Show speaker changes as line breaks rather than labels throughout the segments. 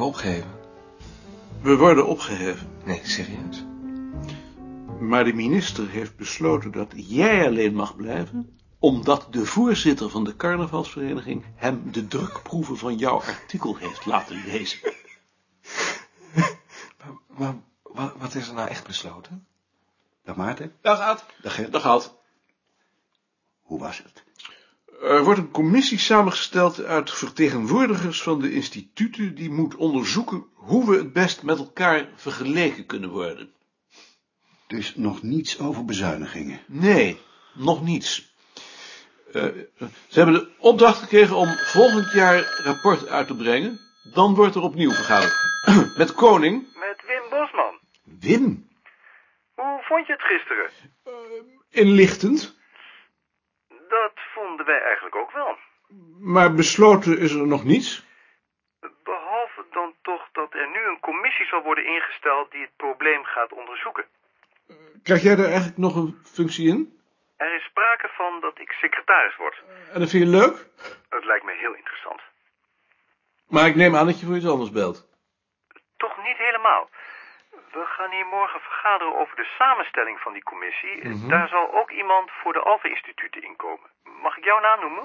opgeheven?
We worden opgeheven.
Nee, serieus.
Maar de minister heeft besloten dat jij alleen mag blijven, omdat de voorzitter van de carnavalsvereniging hem de drukproeven van jouw artikel heeft laten lezen.
Maar wat, wat is er nou echt besloten?
Dag Maarten.
Dag Ad.
Dag Gert.
Dag Ad.
Hoe was het?
Er wordt een commissie samengesteld uit vertegenwoordigers van de instituten die moet onderzoeken hoe we het best met elkaar vergeleken kunnen worden.
Dus nog niets over bezuinigingen.
Nee, nog niets. Eh, ze hebben de opdracht gekregen om volgend jaar rapport uit te brengen. Dan wordt er opnieuw vergaderd. Met Koning.
Met Wim Bosman.
Wim.
Hoe vond je het gisteren?
Inlichtend.
Dat vonden wij eigenlijk ook wel.
Maar besloten is er nog niets.
Behalve dan toch dat er nu een commissie zal worden ingesteld die het probleem gaat onderzoeken.
Krijg jij daar eigenlijk nog een functie in?
Er is sprake van dat ik secretaris word.
En dat vind je leuk?
Dat lijkt me heel interessant.
Maar ik neem aan dat je voor iets anders belt.
Toch niet helemaal. We gaan hier morgen vergaderen over de samenstelling van die commissie. Daar zal ook iemand voor de Alphen-instituten inkomen. Mag ik jouw naam noemen?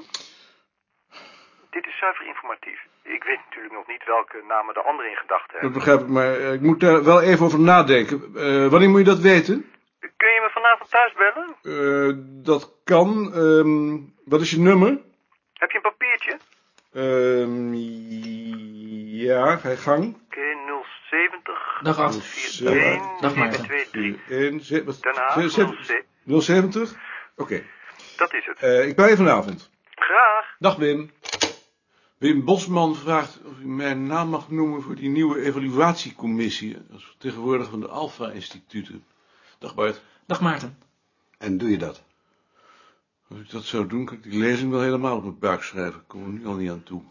Dit is zuiver informatief. Ik weet natuurlijk nog niet welke namen de anderen in gedachten
Dat
hebben.
begrijp ik, maar eh, ik moet daar wel even over nadenken. Eh, wanneer moet je dat weten?
Kun je me vanavond thuis bellen?
Eh, dat kan. Ehm, wat is je nummer?
Heb je een papiertje?
Ehm, ja, ga je gang. Dus, eh,
Oké, 070
Dag Ad.
41
Dag Maarten.
723.
1, 70.
Den Haag, 07.
070? Oké.
Dat is het.
Eh, ik ben je vanavond.
Graag.
Dag Wim. Wim Bosman vraagt of u mijn naam mag noemen voor die nieuwe evaluatiecommissie als vertegenwoordiger van de Alpha-instituten. Dag Bart.
Dag Maarten.
En doe je dat?
Als ik dat zou doen, kan ik die lezing wel helemaal op mijn buik schrijven. Ik kom er nu al niet aan toe.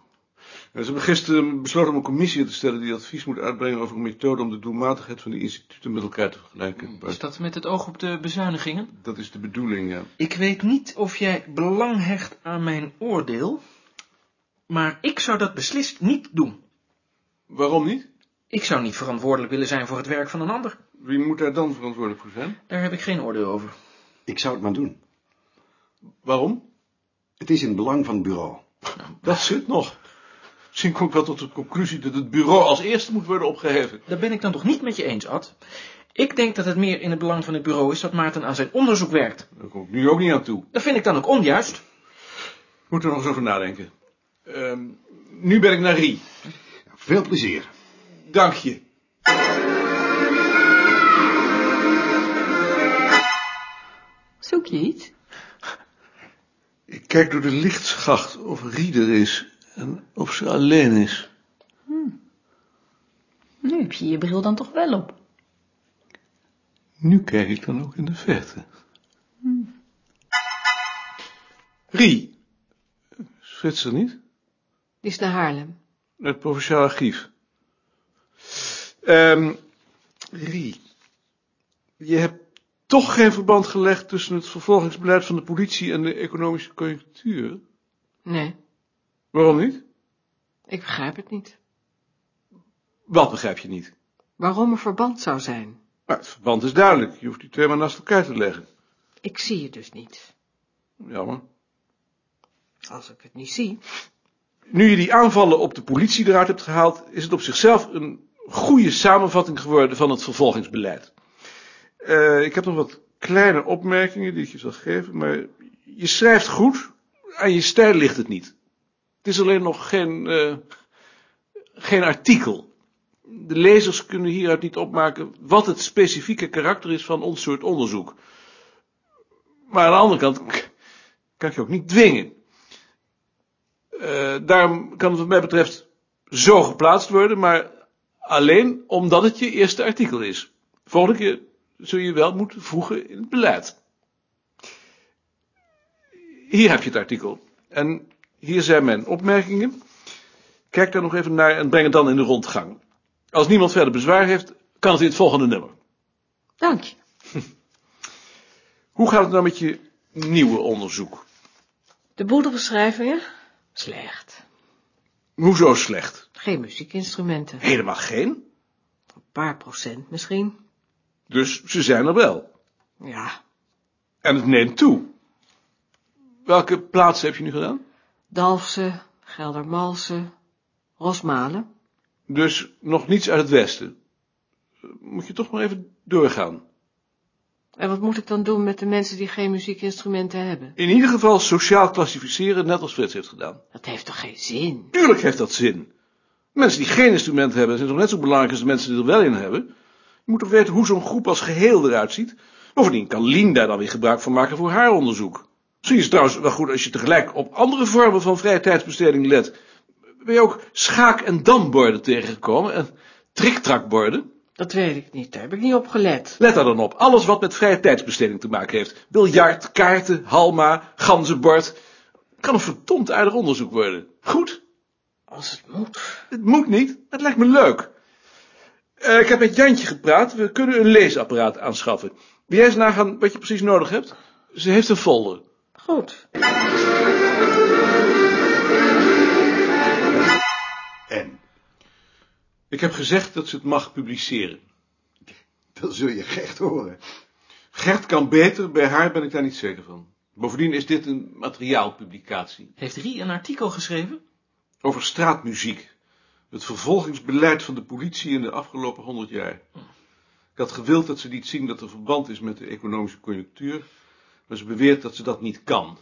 En ze hebben gisteren besloten om een commissie te stellen die advies moet uitbrengen over een methode om de doelmatigheid van de instituten met elkaar te vergelijken.
Hmm, Is
Bart,
dat met het oog op de bezuinigingen?
dat is de bedoeling, ja.
Ik weet niet of jij belang hecht aan mijn oordeel, maar ik zou dat beslist niet doen.
Waarom niet?
Ik zou niet verantwoordelijk willen zijn voor het werk van een ander.
Wie moet daar dan verantwoordelijk voor zijn?
Daar heb ik geen oordeel over.
Ik zou het maar doen.
Waarom?
Het is in het belang van het bureau.
Dat zit nog. Misschien kom ik wel tot de conclusie dat het bureau als eerste moet worden opgeheven.
Daar ben ik dan toch niet met je eens, Ad. Ik denk dat het meer in het belang van het bureau is dat Maarten aan zijn onderzoek werkt.
Daar kom ik nu ook niet aan toe.
Dat vind ik dan ook onjuist.
Ik moet er nog eens over nadenken. Ehm, nu ben ik naar Rie.
Veel plezier.
Dank je.
Zoek je iets?
Ik kijk door de lichtschacht of Rie er is en of ze alleen is.
Nu heb je je bril dan toch wel op.
Nu kijk ik dan ook in de verte. Hm. Rie. Frits er niet?
Die is naar Haarlem.
Naar het Provinciaal Archief. Ehm Rie. Je hebt toch geen verband gelegd tussen het vervolgingsbeleid van de politie en de economische conjunctuur.
Nee,
Waarom niet?
ik begrijp het niet.
Wat begrijp je niet?
Waarom er verband zou zijn?
Maar het verband is duidelijk. Je hoeft die twee maar naast elkaar te leggen.
Ik zie het dus niet.
Jammer.
Als ik het niet zie.
Nu je die aanvallen op de politie eruit hebt gehaald, is het op zichzelf een goede samenvatting geworden van het vervolgingsbeleid. Eh, ik heb nog wat kleine opmerkingen die ik je zal geven, maar je schrijft goed, aan je stijl ligt het niet. Het is alleen nog geen, eh, geen artikel. De lezers kunnen hieruit niet opmaken wat het specifieke karakter is van ons soort onderzoek. Maar aan de andere kant kan ik je ook niet dwingen. Eh, daarom kan het wat mij betreft zo geplaatst worden, maar alleen omdat het je eerste artikel is. Volgende keer zul je wel moeten voegen in het beleid. Hier heb je het artikel. En hier zijn mijn opmerkingen. Kijk daar nog even naar en breng het dan in de rondgang. Als niemand verder bezwaar heeft, kan het in het volgende nummer.
Dank je.
Hoe gaat het nou met je nieuwe onderzoek?
De boedelbeschrijvingen? Slecht.
Hoezo slecht?
Geen muziekinstrumenten.
Helemaal geen.
Een paar procent misschien.
Dus ze zijn er wel.
Ja,
En het neemt toe. Welke plaatsen heb je nu gedaan?
Dalfsen, Geldermalsen, Rosmalen.
Dus nog niets uit het westen. Eh, Moet je toch maar even doorgaan.
En wat moet ik dan doen met de mensen die geen muziekinstrumenten hebben?
In ieder geval sociaal klassificeren, net als Frits heeft gedaan.
Dat heeft toch geen zin?
Tuurlijk heeft dat zin. Mensen die geen instrument hebben zijn toch net zo belangrijk als de mensen die er wel in hebben. Je moet toch weten hoe zo'n groep als geheel eruit ziet. Bovendien kan Lien daar dan weer gebruik van maken voor haar onderzoek. Misschien is het trouwens wel goed als je tegelijk op andere vormen van vrije tijdsbesteding let. Ben je ook schaak- en damborden tegengekomen en triktrakborden?
Dat weet ik niet, daar heb ik niet op gelet.
Let daar dan op. Alles wat met vrije tijdsbesteding te maken heeft. Biljart, kaarten, halma, ganzenbord. Kan een verdomd aardig onderzoek worden. Goed?
Als het moet.
Het moet niet. Het lijkt me leuk. Eh, ik heb met Jantje gepraat. We kunnen een leesapparaat aanschaffen. Wil jij eens nagaan wat je precies nodig hebt? Ze heeft een folder.
Goed.
En?
Ik heb gezegd dat ze het mag publiceren.
Dat zul je echt horen.
Gert kan beter, bij haar ben ik daar niet zeker van. Bovendien is dit een materiaalpublicatie.
Heeft Rie een artikel geschreven?
Over straatmuziek. Het vervolgingsbeleid van de politie in de afgelopen honderd jaar. Ik had gewild dat ze liet zien dat er verband is met de economische conjunctuur. Maar ze beweert dat ze dat niet kan.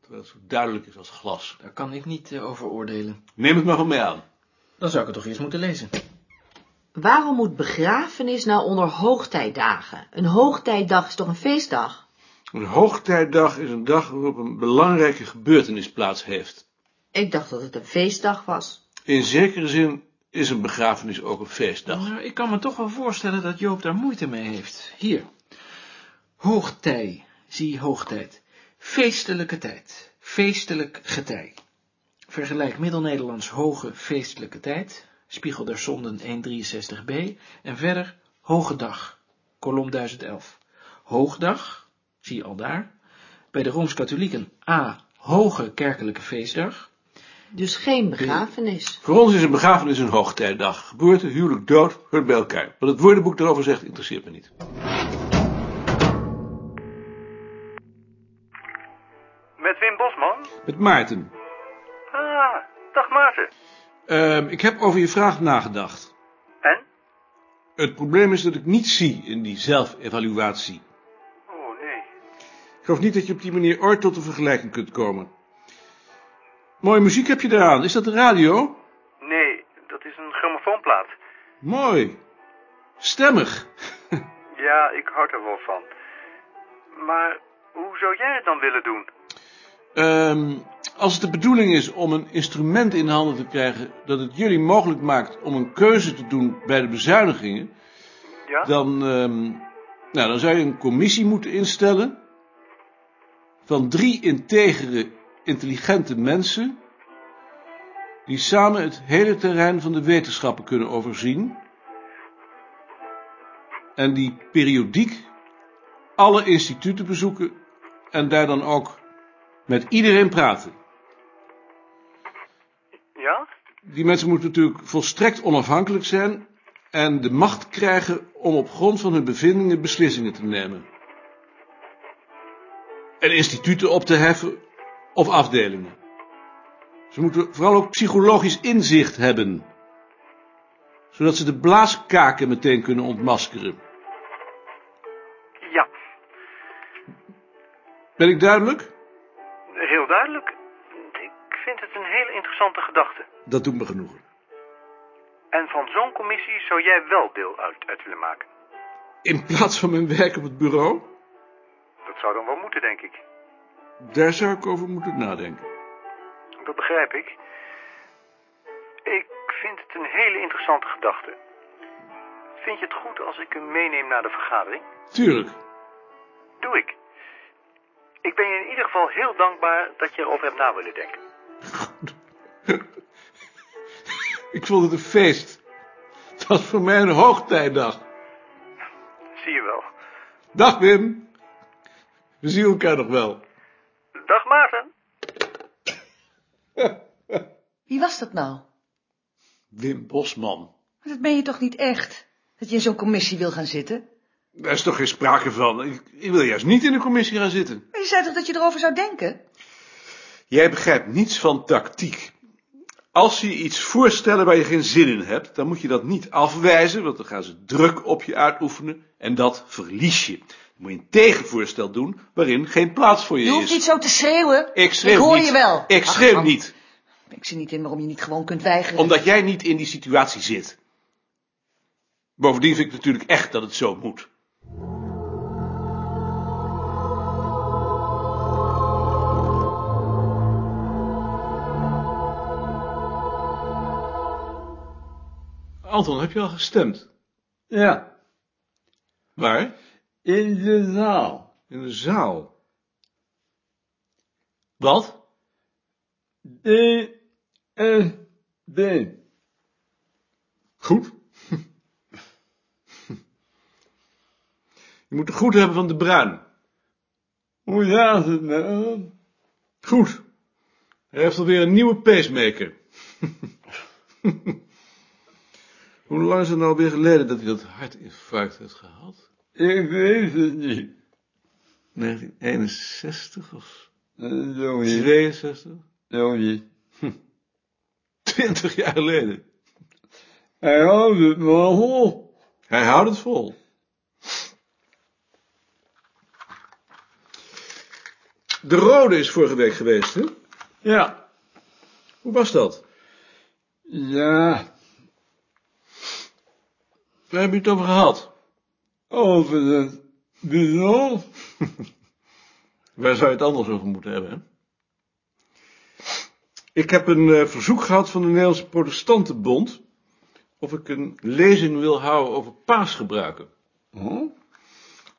Terwijl het zo duidelijk is als glas.
Daar kan ik niet eh, over oordelen.
Neem het maar van mij aan.
Dan zou ik het toch eerst moeten lezen.
Waarom moet begrafenis nou onder hoogtijdagen? Een hoogtijdag is toch een feestdag?
Een hoogtijdag is een dag waarop een belangrijke gebeurtenis plaats heeft.
Ik dacht dat het een feestdag was.
In zekere zin is een begrafenis ook een feestdag.
Nou, ik kan me toch wel voorstellen dat Joop daar moeite mee heeft. Hier. Hoogtij. Zie hoogtijd. Feestelijke tijd. Feestelijk getij. Vergelijk Middel-Nederlands hoge feestelijke tijd. Spiegel der Zonden 163b. En verder hoge dag. Kolom 1011. Hoogdag. Zie al daar. Bij de Rooms-Katholieken A. Hoge kerkelijke feestdag.
Dus geen begrafenis.
Voor ons is een begrafenis een hoogtijdag. Geboorte, huwelijk, dood, hoort bij elkaar. Wat het woordenboek daarover zegt, interesseert me niet.
Met Wim Bosman?
Met Maarten.
Ah, dag Maarten.
Ehm, ik heb over je vraag nagedacht.
En?
Het probleem is dat ik niet zie in die zelfevaluatie.
Oh nee.
Ik geloof niet dat je op die manier ooit tot een vergelijking kunt komen. Mooie muziek heb je eraan. Is dat de radio?
Nee, dat is een grammofoonplaat.
Mooi. Stemmig.
Ja, ik houd er wel van. Maar hoe zou jij het dan willen doen?
Ehm, als het de bedoeling is om een instrument in handen te krijgen dat het jullie mogelijk maakt om een keuze te doen bij de bezuinigingen,
Ja?
dan, ehm, nou, dan zou je een commissie moeten instellen van drie integere, intelligente mensen die samen het hele terrein van de wetenschappen kunnen overzien en die periodiek alle instituten bezoeken en daar dan ook met iedereen praten.
Ja?
Die mensen moeten natuurlijk volstrekt onafhankelijk zijn en de macht krijgen om op grond van hun bevindingen beslissingen te nemen. En instituten op te heffen of afdelingen. Ze moeten vooral ook psychologisch inzicht hebben, zodat ze de blaaskaken meteen kunnen ontmaskeren.
Ja,
Ben ik duidelijk?
heel duidelijk. Ik vind het een hele interessante gedachte.
Dat doet me genoegen.
En van zo'n commissie zou jij wel deel uit, uit willen maken.
In plaats van mijn werk op het bureau,
Dat zou dan wel moeten, denk ik.
daar zou ik over moeten nadenken.
Dat begrijp ik. Ik vind het een hele interessante gedachte. Vind je het goed als ik hem meeneem naar de vergadering?
Tuurlijk.
Doe ik. Ik ben je in ieder geval heel dankbaar dat je erover hebt na willen denken.
Ik vond het een feest. Het was voor mij een hoogtijdag.
Zie je wel.
Dag Wim. We zien elkaar nog wel.
Dag Maarten.
Wie was dat nou?
Wim Bosman.
Maar dat ben je toch niet echt? Dat je in zo'n commissie wil gaan zitten?
Daar is toch geen sprake van. Ik, ik wil juist niet in de commissie gaan zitten.
Maar je zei toch dat je erover zou denken?
Jij begrijpt niets van tactiek. Als ze je iets voorstellen waar je geen zin in hebt, dan moet je dat niet afwijzen, want dan gaan ze druk op je uitoefenen en dat verlies je. Dan moet je een tegenvoorstel doen waarin geen plaats voor je,
Je
is.
hoeft niet zo te schreeuwen.
Ik schreeuw
hoor
niet.
je wel.
Ik
Ach,
schreeuw
man.
niet,
Ik zie niet in waarom je niet gewoon kunt weigeren.
omdat jij niet in die situatie zit. Bovendien vind ik natuurlijk echt dat het zo moet. Anton, heb je al gestemd?
Ja,
Waar?
in de zaal.
In de zaal. Wat?
D, S, D.
Goed. Je moet het goed hebben van de Bruin.
Hoe gaat het met hem?
Goed. Hij heeft alweer een nieuwe pacemaker. Hoe lang is het nou weer geleden dat hij dat hartinfarct heeft gehad?
Ik weet het niet.
1961 of
Eh, Zo niet,
62?
zo niet.
20 jaar geleden.
Hij houdt het wel vol.
Hij houdt het vol. De Rode is vorige week geweest, hè?
Ja,
Hoe was dat?
ja,
Waar hebben jullie het over gehad?
over het bureau.
Waar zou je het anders over moeten hebben, hè? Ik heb een eh, verzoek gehad van de Nederlandse Protestantenbond... of ik een lezing wil houden over paasgebruiken.
Oh,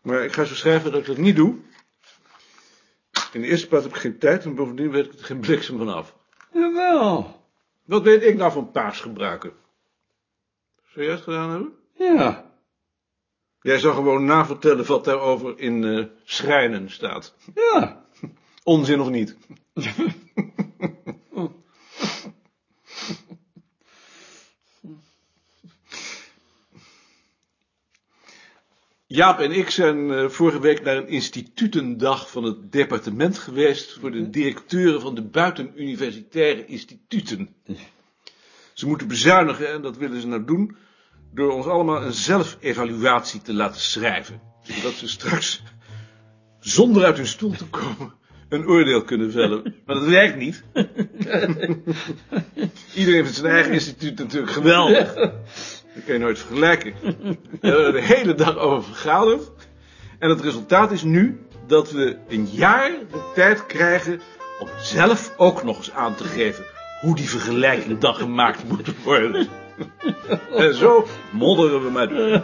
Maar ik ga zo schrijven dat ik dat niet doe. In de eerste plaats heb ik geen tijd... en bovendien weet ik er geen bliksem van af.
jawel.
Wat weet ik nou van paasgebruiken? Zou jij het gedaan hebben?
Ja,
Jij zou gewoon navertellen wat daarover in eh, schrijnen staat.
ja.
Onzin of niet? Jaap en ik zijn eh, vorige week naar een institutendag van het departement geweest voor de directeuren van de buitenuniversitaire instituten. Ze moeten bezuinigen en dat willen ze nou doen door ons allemaal een zelfevaluatie te laten schrijven. Zodat ze straks zonder uit hun stoel te komen een oordeel kunnen vellen. Maar dat werkt niet. Iedereen vindt zijn eigen instituut natuurlijk geweldig. Dat kun je nooit vergelijken. We hebben er de hele dag over vergaderd. En het resultaat is nu dat we een jaar de tijd krijgen om zelf ook nog eens aan te geven hoe die vergelijking dan gemaakt moet worden. En zo modderen we maar door.